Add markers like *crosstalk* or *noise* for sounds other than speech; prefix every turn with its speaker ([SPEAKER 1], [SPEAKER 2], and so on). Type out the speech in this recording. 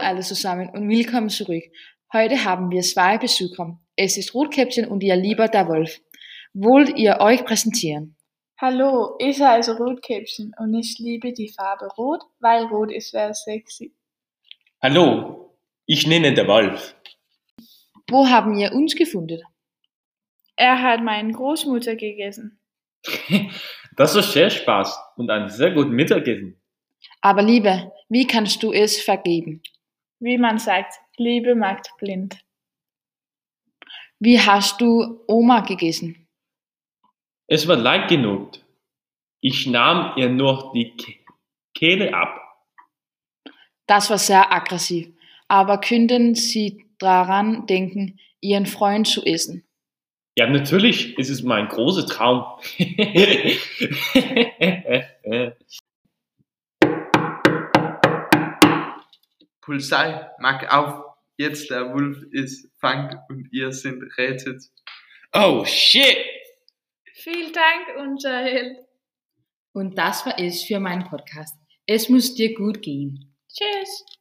[SPEAKER 1] alle zusammen und willkommen zurück. Heute haben wir zwei Besucher. Es ist Rotkäppchen und ihr lieber der Wolf. Wollt ihr euch präsentieren?
[SPEAKER 2] Hallo, altså ich heiße Rotkäppchen und ich liebe die Farbe Rot, weil Rot ist sehr sexy.
[SPEAKER 3] Hallo, ich nenne der Wolf.
[SPEAKER 1] Wo haben ihr uns gefunden?
[SPEAKER 2] Er hat meine Großmutter gegessen.
[SPEAKER 3] Das ist sehr Spaß und ein sehr gutes Mittagessen.
[SPEAKER 1] Aber Liebe, wie kannst du es vergeben?
[SPEAKER 2] Wie man sagt, Liebe macht blind.
[SPEAKER 1] Wie hast du Oma gegessen?
[SPEAKER 3] Es war leicht genug. Ich nahm ihr nur die Ke- Kehle ab.
[SPEAKER 1] Das war sehr aggressiv. Aber könnten Sie daran denken, Ihren Freund zu essen?
[SPEAKER 3] Ja, natürlich, es ist mein großer Traum. *laughs*
[SPEAKER 4] Polizei, mag auf, jetzt der Wolf ist fangt und ihr sind rettet.
[SPEAKER 3] oh, shit!
[SPEAKER 2] Vielen Dank, unser Held.
[SPEAKER 1] Und das war es für meinen Podcast. Es muss dir gut gehen.
[SPEAKER 2] Tschüss.